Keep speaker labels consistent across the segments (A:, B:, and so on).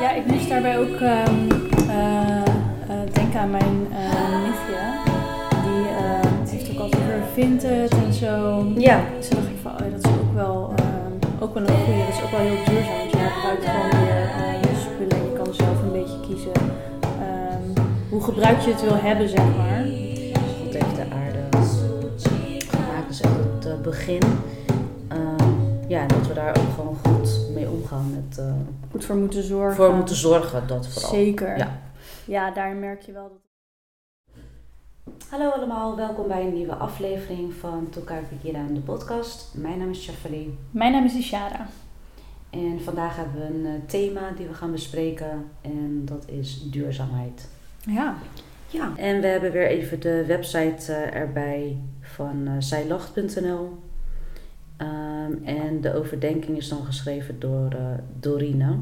A: Ja, ik moest daarbij ook ehm, eh, eh, denken aan mijn eh nichtje. Die eh, heeft ook altijd over vintage en zo.
B: Ja.
A: Dus toen dacht ik van, oh ja, dat is ook wel, ehm, ook wel een goede. Dat is ook wel heel duurzaam. Dus Want je gebruikt gewoon weer eh, je spullen. Je kan zelf een beetje kiezen ehm, hoe gebruikt je het wil hebben, zeg maar.
B: Dat heeft de aarde gemaakt. Dus echt het eh, begin. Eh, ja, dat we daar ook gewoon goed mee omgaan. Met, eh,
A: Goed voor moeten zorgen.
B: voor moeten zorgen, dat vooral.
A: Zeker.
B: Ja.
A: ja, daar merk je wel dat
B: Hallo allemaal, welkom bij een nieuwe aflevering van Tokai Pikira de podcast. Mijn naam is Shafali
A: Mijn naam is Ishara.
B: en vandaag hebben we een eh, thema die we gaan bespreken en dat is duurzaamheid.
A: Ja.
B: Ja. En we hebben weer even de website eh, erbij van eh zijlacht.nl. Ehm, en de overdenking is dan geschreven door eh Dorine.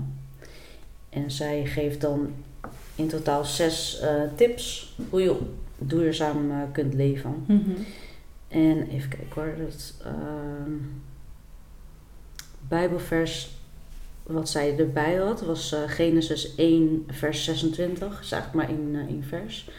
B: En zij geeft dan in totaal zes eh, tips hoe je duurzaam eh, kunt leven.
A: Mhm.
B: En even kijken hoor. Dat, ehm, Bijbelvers wat zij erbij had was eh, Genesis 1, vers 26. is eigenlijk maar één, eh, één vers.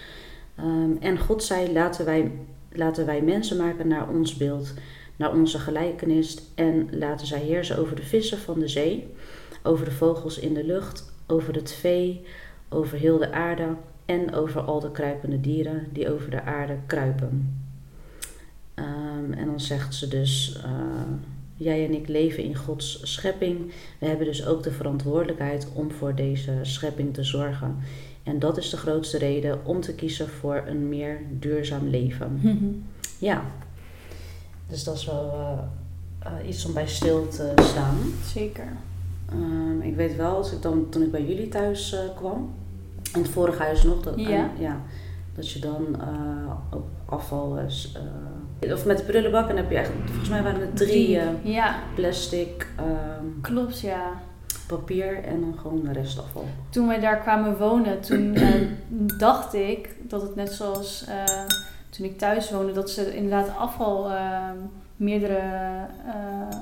B: Ehm, en God zei: laten wij, laten wij mensen maken naar ons beeld, naar onze gelijkenis. En laten zij heersen over de vissen van de zee, over de vogels in de lucht, over het vee, over heel de aarde en over al de kruipende dieren die over de aarde kruipen. Ehm, en dan zegt ze dus: eh, Jij en ik leven in Gods schepping. We hebben dus ook de verantwoordelijkheid om voor deze schepping te zorgen. En dat is de grootste reden om te kiezen voor een meer duurzaam
A: Hm.
B: leven. Ja, dus dat is wel eh, eh, iets om bij stil te staan.
A: Zeker.
B: Ehm, ik weet wel, als ik dan, toen ik bij jullie thuis eh, kwam, in het vorige huis nog, dat,
A: Ja.
B: eh, ja, dat je dan eh, ook afval is. eh, of met de prullenbak, en dan heb je echt, volgens mij waren het drie, eh,
A: Ja,
B: plastic, ehm,
A: klopt ja.
B: papier en dan gewoon de restafval.
A: Toen wij daar kwamen wonen, toen eh, dacht ik dat het net zoals eh, toen ik thuis woonde, dat ze inderdaad afval, eh, meerdere eh,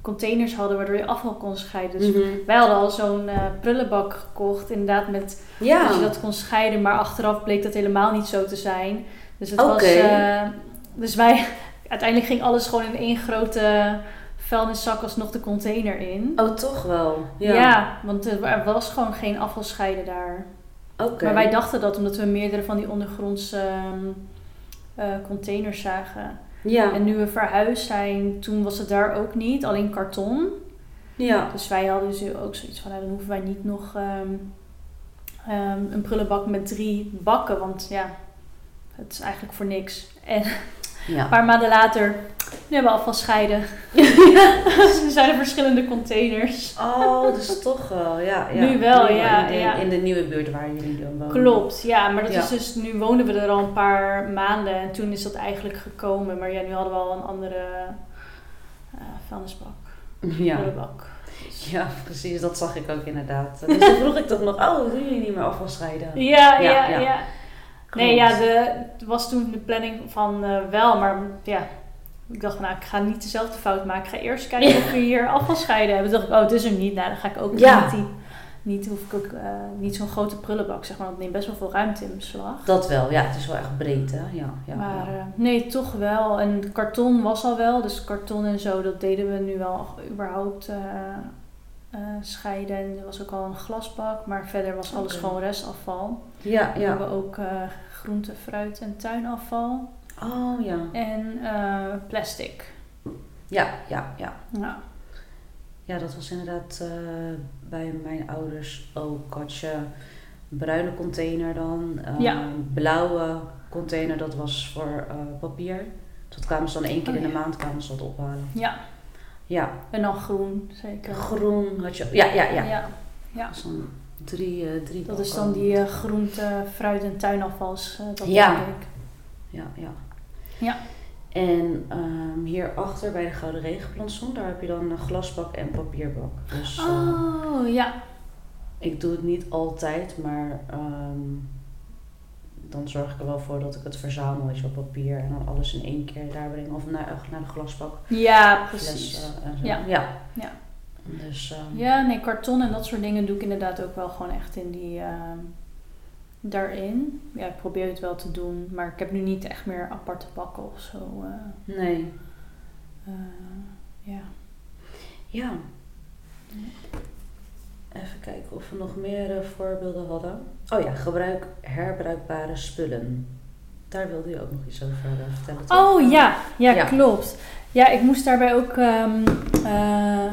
A: containers hadden waardoor je afval kon scheiden.
B: Mm.
A: Dus wij hadden al zo'n eh, prullenbak gekocht, inderdaad met dat Dus je
B: Ja,
A: dat kon scheiden, maar achteraf bleek dat helemaal niet zo te zijn. Dus het was,
B: Oké.
A: eh, dus wij, uiteindelijk ging alles gewoon in één grote vuilniszak alsnog de container in.
B: oh toch wel.
A: Ja.
B: Ja,
A: want er was gewoon geen afvalscheiden daar.
B: oké.
A: Maar wij dachten dat omdat we meerdere van die ondergrondse ehm, eh, containers zagen.
B: Ja,
A: En nu we verhuisd zijn, toen was het daar ook niet, alleen karton.
B: ja.
A: Dus wij hadden dus ook zoiets van, nou, dan hoeven wij niet nog ehm, ehm, een prullenbak met drie bakken. Want ja, het is eigenlijk voor niks. En een
B: ja.
A: paar maanden later, nu hebben we afvalscheiden. dus er zijn er verschillende containers.
B: Oh, dus toch wel, ja. ja.
A: Nu wel, ja,
B: In de,
A: ja.
B: in de nieuwe buurt waar jullie dan wonen.
A: Klopt, ja, maar dat
B: Ja.
A: is dus, nu woonden we er al een paar maanden en toen is dat eigenlijk gekomen. Maar ja, nu hadden we al een andere eh vuilnisbak, Dus-
B: Ja.
A: prullenbak.
B: Ja, precies, dat zag ik ook inderdaad. Dus toen vroeg ik toch nog, oh, doen jullie niet meer afval scheiden?
A: Ja, ja, ja.
B: Ja, ja.
A: Nee,
B: Klopt.
A: ja, de, het was toen de planning van eh, wel, maar ja, ik dacht van nou, ik ga niet dezelfde fout maken. Ik ga eerst kijken of we hier afval scheiden hebben. Toen dacht ik, oh, het is er niet. Nou, dan ga ik ook
B: Ja.
A: niet, die, niet, hoef ik ook, eh, niet zo'n grote prullenbak, zeg maar. want Dat neemt best wel veel ruimte in beslag.
B: Dat wel, ja, het is wel echt breed, hè? Ja, ja,
A: maar
B: ja.
A: eh, nee, toch wel. En karton was al wel, dus karton en zo, dat deden we nu wel überhaupt eh, eh, scheiden. En er was ook al een glasbak, maar verder was alles
B: Oké.
A: gewoon restafval.
B: ja,
A: We
B: ja.
A: hebben ook eh, groente, fruit en tuinafval
B: Oh, ja.
A: en eh, plastic.
B: Ja, ja, ja.
A: Ja.
B: Ja, dat was inderdaad eh, bij mijn ouders ook. Had je een bruine container dan, eh,
A: Ja.
B: een blauwe container, dat was voor eh, papier. Dus dat kwamen ze dan één keer
A: Oh,
B: in de
A: ja.
B: maand kwamen ze dat ophalen.
A: ja,
B: Ja,
A: en dan groen, zeker.
B: groen had je. Ja, ja, ja.
A: ja.
B: Dat is dan drie, eh, drie
A: Dat is dan
B: balkonnen.
A: die eh, groente, fruit en tuinafvals. eh, dat
B: Ja.
A: denk ik.
B: Ja, ja.
A: Ja.
B: En ehm, hierachter bij de Gouden Regenplantsoen, daar heb je dan een glasbak en papierbak. Dus eh,
A: Oh, ja.
B: ik doe het niet altijd, maar ehm, dan zorg ik er wel voor dat ik het verzamel, weet je wel, papier en dan alles in één keer daar breng. Of naar, naar de glasbak.
A: Ja,
B: flessen
A: precies.
B: en zo.
A: Ja.
B: ja.
A: Ja.
B: Dus ehm,
A: Ja, nee, karton en dat soort dingen doe ik inderdaad ook wel gewoon echt in die. ehm, daarin. Ja, ik probeer het wel te doen, maar ik heb nu niet echt meer aparte bakken of zo. eh,
B: nee.
A: eh, ja.
B: Ja. Even kijken of we nog meer eh, voorbeelden hadden. Oh ja, gebruik herbruikbare spullen. Daar wilde je ook nog iets over eh, vertellen. toch?
A: Oh ja, ja,
B: Ja.
A: klopt. Ja, ik moest daarbij ook ehm, eh, eh,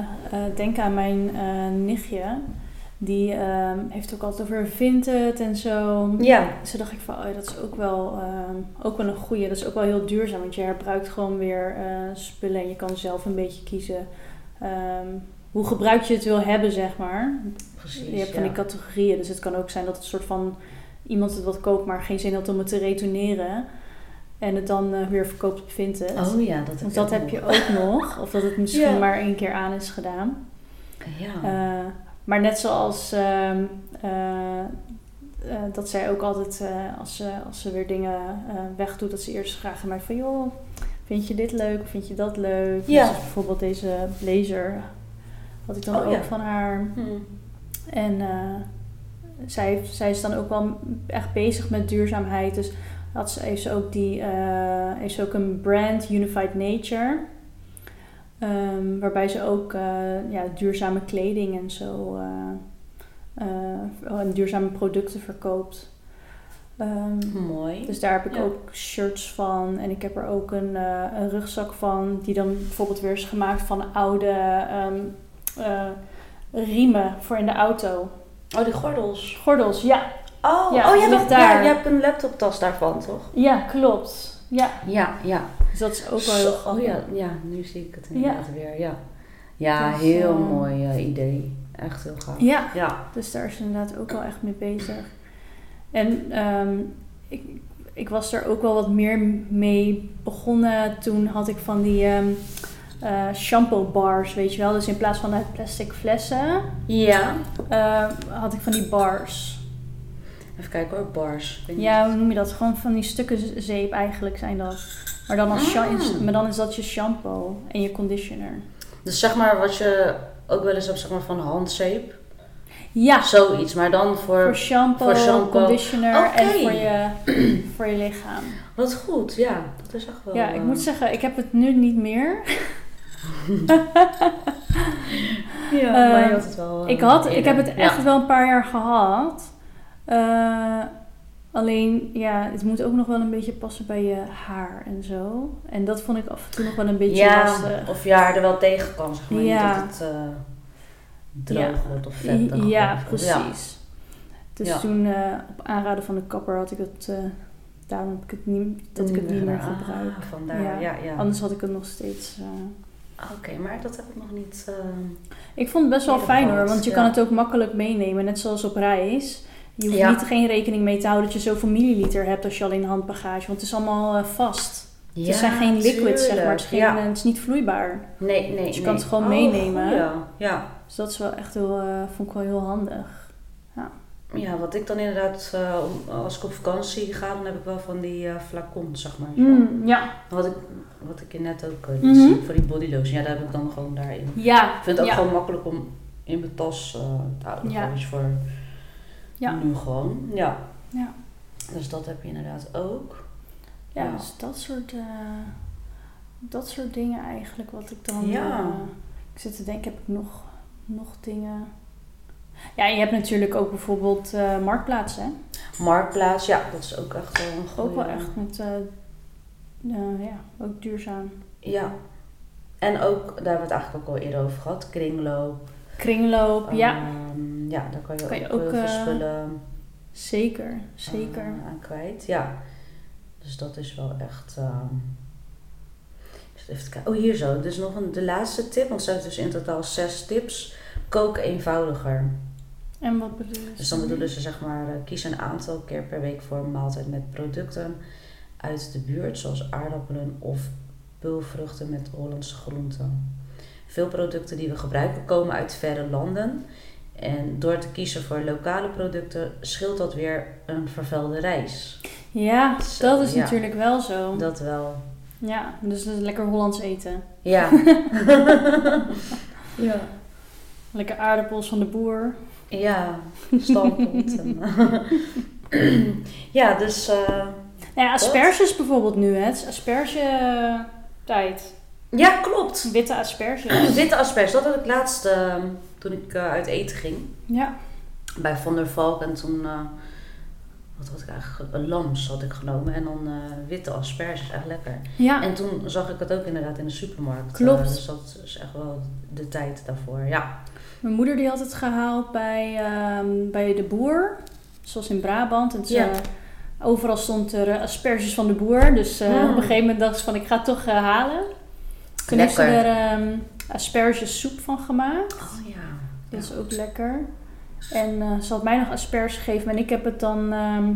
A: denken aan mijn eh, nichtje. Die ehm, heeft ook altijd over Vinted en zo.
B: Ja,
A: Dus toen dacht ik van, oh ja, dat is ook wel, ehm, ook wel een goeie. Dat is ook wel heel duurzaam, want je herbruikt gewoon weer eh, spullen. En je kan zelf een beetje kiezen ehm, hoe gebruik je het wil hebben, zeg maar.
B: precies.
A: je hebt van
B: ja.
A: die categorieën. Dus het kan ook zijn dat het soort van iemand het wat koopt, maar geen zin had om het te retourneren. En het dan eh, weer verkoopt op Vinted.
B: Oh ja, dat heb
A: Want
B: je
A: dat
B: ook
A: heb
B: nog.
A: je ook nog. Of dat het misschien
B: Ja.
A: maar één keer aan is gedaan.
B: Ja.
A: Eh, maar net zoals ehm, eh, eh, dat zij ook altijd, eh, als, ze, als ze weer dingen eh, wegdoet, dat ze eerst vragen aan mij van... joh, vind je dit leuk of vind je dat leuk?
B: Ja.
A: Dus bijvoorbeeld deze blazer had ik dan
B: Oh,
A: ook
B: ja.
A: van haar.
B: Hm.
A: En eh, zij, heeft- zij is dan ook wel echt bezig met duurzaamheid. Dus had ze, heeft ze ook die eh, heeft ze ook een brand Unified Nature. Ehm, waarbij ze ook eh, ja, duurzame kleding en zo eh, eh, en duurzame producten verkoopt. Ehm,
B: Mooi.
A: dus daar heb ik
B: Ja.
A: ook shirts van. En ik heb er ook een, eh, een rugzak van. Die dan bijvoorbeeld weer is gemaakt van oude ehm, eh, riemen voor in de auto.
B: oh, die gordels.
A: Gordels, ja.
B: Oh
A: Ja,
B: ja, oh,
A: die
B: ja,
A: ligt
B: dat,
A: daar.
B: ja, je hebt een laptoptas daarvan, toch?
A: Ja, klopt. Ja,
B: Ja, ja.
A: dus dat is ook wel heel
B: Oh
A: grappig.
B: ja, ja, nu zie ik het inderdaad weer. Ja, ja
A: Dus,
B: heel
A: eh,
B: mooi eh, idee. Echt heel gaaf.
A: Ja,
B: Ja.
A: Dus daar is ze inderdaad ook wel echt mee bezig. En ehm, ik, ik was er ook wel wat meer mee begonnen. Toen had ik van die ehm, eh, shampoo bars, weet je wel. Dus in plaats van uit plastic flessen,
B: Ja.
A: eh, had ik van die bars.
B: Even kijken hoor, bars. Ik weet
A: Ja,
B: niet.
A: hoe noem je dat? Gewoon van die stukken z- zeep eigenlijk zijn dat. Maar dan, als sha-
B: Ah.
A: maar dan is dat je shampoo en je conditioner.
B: Dus zeg maar wat je ook wel eens hebt zeg maar, van handzeep.
A: Ja,
B: Zoiets, maar dan
A: voor
B: voor...
A: shampoo,
B: voor shampoo.
A: conditioner en
B: Oké.
A: voor je, voor je lichaam.
B: Wat goed, ja. Dat is echt wel...
A: Ja, ik
B: eh,
A: moet zeggen, ik heb het nu niet meer.
B: Ja,
A: eh,
B: maar je had het wel... eh,
A: Ik, had, ik
B: eerder.
A: heb het
B: Ja.
A: echt wel een paar jaar gehad. Eh, alleen, ja, het moet ook nog wel een beetje passen bij je haar en zo. En dat vond ik af en toe nog wel een beetje
B: ja,
A: lastig.
B: of je haar er wel tegen kan, zeg maar.
A: Ja.
B: Niet dat het eh, droog wordt of
A: I-
B: vettig.
A: ja,
B: wordt.
A: precies. Dus
B: Ja.
A: toen, eh, op aanraden van de kapper, had ik het... eh, daarom heb ik het niet, dat ik het niet meer
B: Ah,
A: gebruik.
B: vandaar,
A: Ja.
B: ja. ja,
A: Anders had ik het nog steeds... eh,
B: Oké, maar dat heb ik nog niet... eh,
A: Ik vond het best wel
B: Ja,
A: fijn
B: dat
A: hoor,
B: klopt,
A: want je
B: ja.
A: kan het ook makkelijk meenemen, net zoals op reis. Je hoeft
B: Ja.
A: niet geen rekening mee te houden dat je zoveel milliliter hebt als je alleen handbagage, want het is allemaal eh, vast.
B: Ja,
A: het zijn geen liquids, zeg maar.
B: tuurlijk.
A: Het is, geen,
B: Ja.
A: eh, het is niet vloeibaar.
B: Nee, nee.
A: Dus je
B: nee. Oh,
A: kan het gewoon meenemen.
B: Ja. ja.
A: Dus dat is wel echt heel, eh, vond ik wel heel handig.
B: Ja, wat ik dan inderdaad, eh, om- als ik op vakantie ga, dan heb ik wel van die eh flacons, zeg maar. zo.
A: ja.
B: Wat, ik, wat ik je net ook eh, liet
A: Mm. Mhm.
B: zien voor die body lotion, ja, daar heb ik dan gewoon daarin.
A: Ja.
B: Ik vind het ook gewoon makkelijk om in mijn tas eh, te houden.
A: Ja.
B: Ja. Is voor
A: Ja.
B: nu gewoon. Ja.
A: Ja.
B: Dus dat heb je inderdaad ook.
A: Ja,
B: Ja.
A: dus dat soort, eh, dat soort dingen eigenlijk wat ik dan...
B: Ja.
A: eh, ik zit te denken, heb ik nog, nog dingen... Ja, je hebt natuurlijk ook bijvoorbeeld eh marktplaatsen, hè?
B: Marktplaats, ja, dat is ook echt wel een goede.
A: Ook wel echt met, eh, eh, ja, ook duurzaam.
B: Ja. En ook, daar hebben we het eigenlijk ook al eerder over gehad, kringloop.
A: Kringloop, ja,
B: Ehm, ja, daar kan je
A: Kan
B: ook,
A: je ook,
B: heel veel
A: eh,
B: spullen
A: zeker, zeker.
B: eh, aan kwijt. Ja. Dus dat is wel echt. ehm, ik zit even te kijken. Oh, hier zo. Dus nog een, de laatste tip, want ze heeft dus in totaal zes tips. Kook eenvoudiger.
A: en wat bedoel je?
B: Dus dan bedoelen ze zeg maar, eh, kies een aantal keer per week voor een maaltijd met producten uit de buurt, zoals aardappelen of pulvruchten met Hollandse groenten. Veel producten die we gebruiken komen uit verre landen. En door te kiezen voor lokale producten scheelt dat weer een vervuilde reis.
A: Ja,
B: Zo,
A: dat is
B: ja.
A: natuurlijk wel zo.
B: Dat wel.
A: Ja, dus dat is lekker Hollands eten.
B: Ja. ja.
A: Lekker aardappels van de boer.
B: Ja, stamppot. en, eh, ja, dus eh,
A: Nou ja, asperges bijvoorbeeld nu, hè. Het is eh, asperge-tijd.
B: ja, klopt.
A: Witte asperges.
B: Witte asperges, dat had ik laatst eh, toen ik eh, uit eten ging.
A: ja.
B: bij Van der Valk en toen, eh, wat had ik eigenlijk, een lams had ik genomen en dan eh, witte asperges, echt lekker.
A: Ja.
B: En toen zag ik het ook inderdaad in de supermarkt.
A: Ah. Klopt.
B: Eh, dus dat is echt wel de tijd daarvoor, ja.
A: Mijn moeder die had het gehaald bij, ehm, bij de boer, zoals in Brabant. En ze-
B: Ja.
A: overal stond er eh, asperges van de boer. Dus eh,
B: Mm.
A: op een gegeven moment dacht ze van ik ga het toch eh, halen. Toen heeft ze
B: Lekker.
A: er ehm aspergesoep van gemaakt.
B: Oh ja.
A: Dat is ook lekker. En eh, ze had mij nog asperges gegeven. En ik heb het dan ehm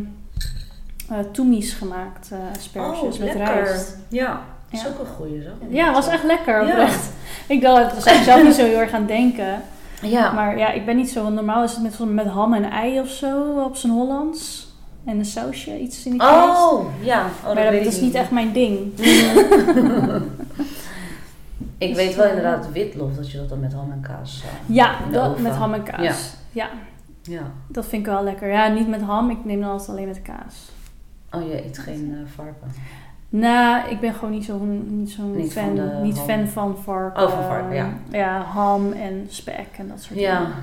A: eh, toemies gemaakt. eh,
B: Oh,
A: asperges met rijst.
B: Ja, dat is
A: Ja.
B: ook een goeie zo.
A: Ja, was echt lekker.
B: Ja.
A: oprecht. Ik dacht, daar zou ik zelf niet zo heel erg aan denken.
B: Ja,
A: Maar ja, ik ben niet zo, want normaal is het met, met ham en ei of zo op zijn Hollands. En een sausje, iets in die geest.
B: oh ja. Oh, dat
A: maar dat,
B: weet
A: dat
B: ik
A: is niet echt mijn ding.
B: Ik weet wel inderdaad witlof, dat je dat dan met ham en kaas... eh,
A: Ja,
B: in de
A: dat,
B: oven.
A: met ham en kaas. Ja.
B: Ja.
A: dat vind ik wel lekker. Ja, niet met ham, ik neem dan altijd alleen met kaas.
B: Oh, je eet geen eh, varken.
A: Nou, ik ben gewoon niet zo'n niet zo'n
B: Niet
A: fan,
B: van de
A: niet
B: ham.
A: fan van varken.
B: Oh, van varken, ja.
A: Ja, ham en spek en dat soort
B: Ja.
A: dingen.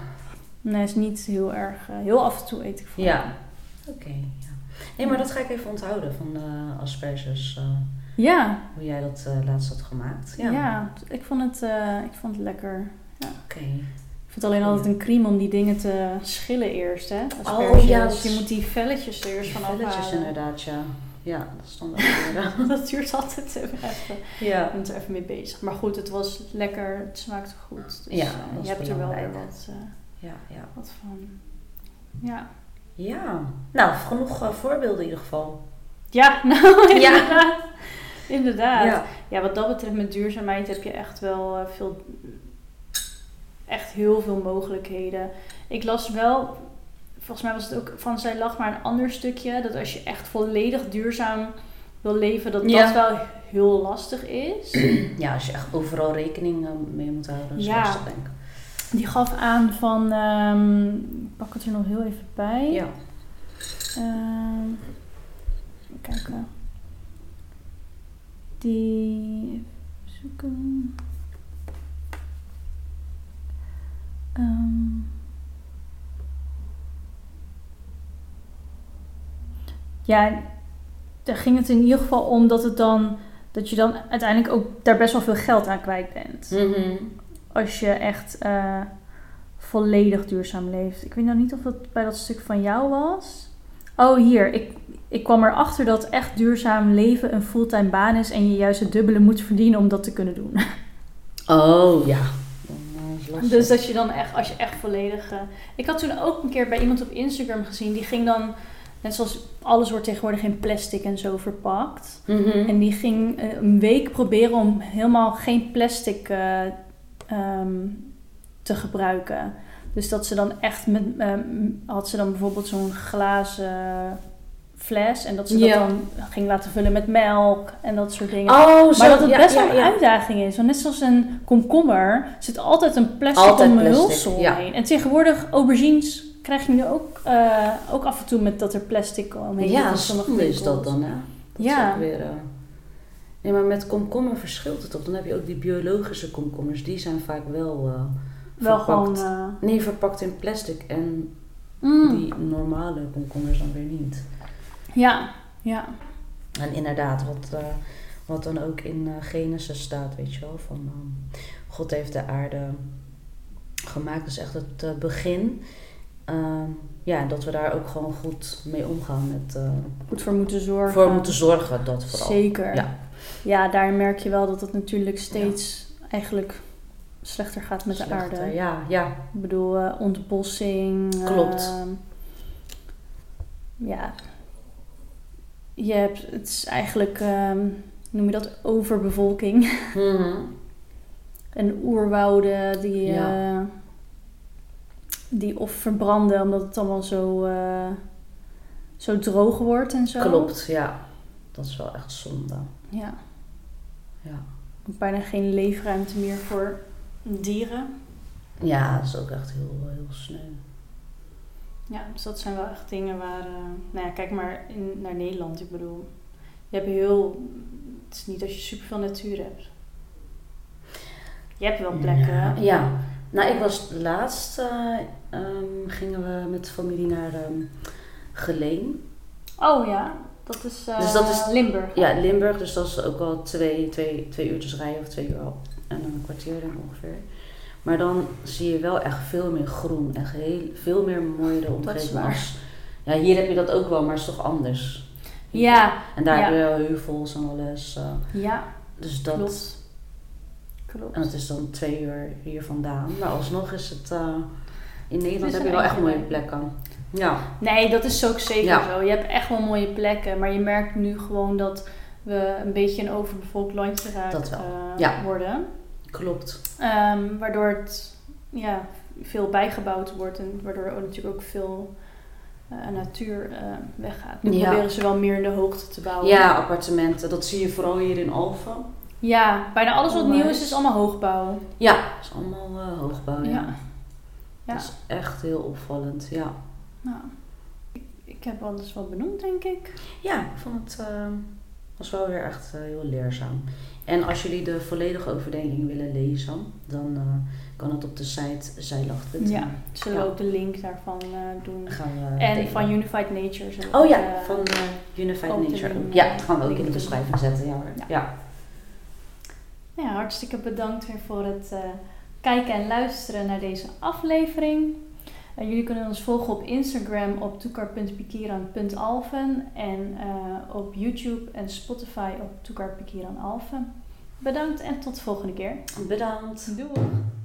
A: Nee, is niet heel erg. eh, heel af en toe eet ik van.
B: Ja. Oké. ja. Nee, maar dat ga ik even onthouden van eh, asperges. eh,
A: Ja,
B: hoe jij dat eh, laatst had gemaakt.
A: ja. ik, vond het, eh, ik vond het lekker.
B: Oké.
A: Ik vind het alleen altijd een crime om die dingen te schillen eerst, hè?
B: Oh, ja,
A: Dus je
B: dat-
A: moet die velletjes er eerst van
B: Velletjes
A: afhalen.
B: inderdaad, ja. Ja, dat stond ook inderdaad.
A: Dat duurt altijd even. Ik
B: ja.
A: ben er even mee bezig. Maar goed, het was lekker. Het smaakte goed. Dus
B: Ja,
A: eh,
B: dat is
A: je hebt er wel weer
B: belangrijk.
A: wat, eh,
B: Ja, ja.
A: wat van. Ja.
B: Ja. Nou, genoeg eh, voorbeelden in ieder geval.
A: Ja, nou
B: Ja.
A: inderdaad. Inderdaad. Ja. wat dat betreft met duurzaamheid heb je echt wel eh, veel... Echt heel veel mogelijkheden. Ik las wel... Volgens mij was het ook van Zij Lach maar een ander stukje. Dat als je echt volledig duurzaam wil leven, dat
B: Ja.
A: dat wel heel lastig is.
B: Ja, als je echt overal rekening eh, mee moet houden.
A: Ja.
B: Ja. Denk ik.
A: Die gaf aan van... ehm, ik pak het er nog heel even bij.
B: Ja.
A: Ehm, even kijken. Die. even zoeken. Ehm. ja, daar ging het in ieder geval om dat het dan. Dat je dan uiteindelijk ook daar best wel veel geld aan kwijt bent. Mhm. Als je echt eh, volledig duurzaam leeft. Ik weet nou niet of dat bij dat stuk van jou was. Oh, hier. Ik, ik kwam erachter dat echt duurzaam leven een fulltime baan is. En je juist het dubbele moet verdienen om dat te kunnen doen.
B: Oh, ja. Dan eh, is het lastig.
A: Dus dat je dan echt, als je echt volledig. eh, ik had toen ook een keer bij iemand op Instagram gezien. Die ging dan. Net zoals alles wordt tegenwoordig in plastic en zo verpakt.
B: Mhm.
A: En die ging eh, een week proberen om helemaal geen plastic eh, ehm, te gebruiken. Dus dat ze dan echt met. ehm, had ze dan bijvoorbeeld zo'n glazen fles. En dat ze
B: Ja.
A: dat dan ging laten vullen met melk en dat soort dingen.
B: Oh, zo.
A: maar dat het
B: ja,
A: best wel
B: ja,
A: een
B: ja.
A: uitdaging is. Want net zoals een komkommer zit altijd een plastic
B: Altijd
A: om een
B: plastic,
A: hulsel
B: ja.
A: heen. En tegenwoordig aubergines krijg je nu ook, eh, ook af en toe met dat er plastic omheen zit
B: Ja,
A: in sommige
B: zonde is dat
A: winkels.
B: dan, hè? Dat
A: Ja.
B: is ook weer... eh, Nee, maar met komkommer verschilt het toch? Dan heb je ook die biologische komkommers. Die zijn vaak wel eh,
A: Wel
B: verpakt.
A: gewoon. eh,
B: Nee, verpakt in plastic. En
A: mm.
B: die normale komkommers dan weer niet.
A: Ja, ja.
B: En inderdaad, wat, eh, wat dan ook in eh, Genesis staat, weet je wel. Van ehm, God heeft de aarde gemaakt. Dat is echt het eh, begin. Ehm, ja, dat we daar ook gewoon goed mee omgaan. Met, eh,
A: Goed voor moeten zorgen.
B: voor moeten zorgen, dat vooral.
A: Zeker.
B: Ja.
A: ja, daar merk je wel dat het natuurlijk steeds eigenlijk slechter gaat met de
B: Slechter,
A: aarde.
B: Ja, ja,
A: Ik bedoel, eh, ontbossing. eh,
B: Klopt.
A: ja. Je hebt, het is eigenlijk, ehm, noem je dat, overbevolking.
B: Mhm.
A: En oerwouden die,
B: Ja.
A: eh, die of verbranden omdat het allemaal zo, eh, zo droog wordt en zo.
B: Klopt, ja. Dat is wel echt zonde.
A: Ja.
B: Ja.
A: Bijna geen leefruimte meer voor dieren.
B: Ja, dat is ook echt heel, heel sneu.
A: Ja, dus dat zijn wel echt dingen waar... eh, nou ja, kijk maar in, naar Nederland. Ik bedoel, je hebt heel... Het is niet dat je superveel natuur hebt. Je hebt wel plekken.
B: Ja. ja. Nou, ik was laatst... eh, ehm, gingen we met de familie naar ehm, Geleen.
A: Oh ja, dat is, eh,
B: Dus dat is-
A: Limburg.
B: Ja, Limburg. Dus dat is ook al twee, twee, twee uurtjes rijden of twee uur al. En dan een kwartier dan ongeveer. Maar dan zie je wel echt veel meer groen. Echt heel, veel meer mooiere
A: is
B: omgeving.
A: waar.
B: als- Ja, hier heb je dat ook wel, maar het is toch anders.
A: Ja,
B: En daar
A: Ja.
B: hebben we wel heuvels en alles. eh,
A: ja,
B: dus dat...
A: klopt. Klopt.
B: En het is dan twee uur hier vandaan. Maar alsnog is het... eh, in Nederland
A: is
B: heb
A: een
B: je wel echt
A: eindje
B: mooie
A: bij.
B: plekken. Ja.
A: Nee, dat is ook zeker
B: Ja.
A: zo. Je hebt echt wel mooie plekken, maar je merkt nu gewoon dat we een beetje een overbevolkt landje raken
B: Dat wel,
A: eh,
B: ja.
A: worden.
B: Klopt.
A: Ehm, waardoor het ja, veel bijgebouwd wordt en waardoor er ook natuurlijk ook veel eh, natuur eh, weggaat. Nu
B: Ja.
A: proberen ze wel meer in de hoogte te bouwen.
B: Ja, appartementen. Dat zie je vooral hier in Alphen.
A: Ja, bijna alles wat
B: Onwijs.
A: nieuw is, is allemaal hoogbouw.
B: Ja. Dat is allemaal eh, hoogbouw, ja.
A: Ja. Ja.
B: Dat is echt heel opvallend, ja.
A: Nou, ik, ik heb alles wel benoemd, denk ik.
B: Ja, ik vond het... eh, was wel weer echt eh, heel leerzaam. En als jullie de volledige overdenking willen lezen... dan eh, kan het op de site zijlacht.nl.
A: Ja, zullen
B: Ja.
A: we ook de link daarvan eh, doen.
B: Dan gaan we
A: En
B: delen.
A: van Unified Nature. zullen we
B: Oh ja,
A: ook, eh,
B: van eh, Unified
A: ook te
B: Nature.
A: doen.
B: Ja, dat gaan we ook in de
A: Link.
B: beschrijving zetten. Ja, hoor.
A: Ja.
B: ja.
A: nou Ja, hartstikke bedankt weer voor het eh, kijken en luisteren naar deze aflevering. Eh, jullie kunnen ons volgen op Instagram op toekar.pikiran.alven en eh, op YouTube en Spotify op toekarpikiranalven. Bedankt en tot de volgende keer.
B: Bedankt.
A: Doei!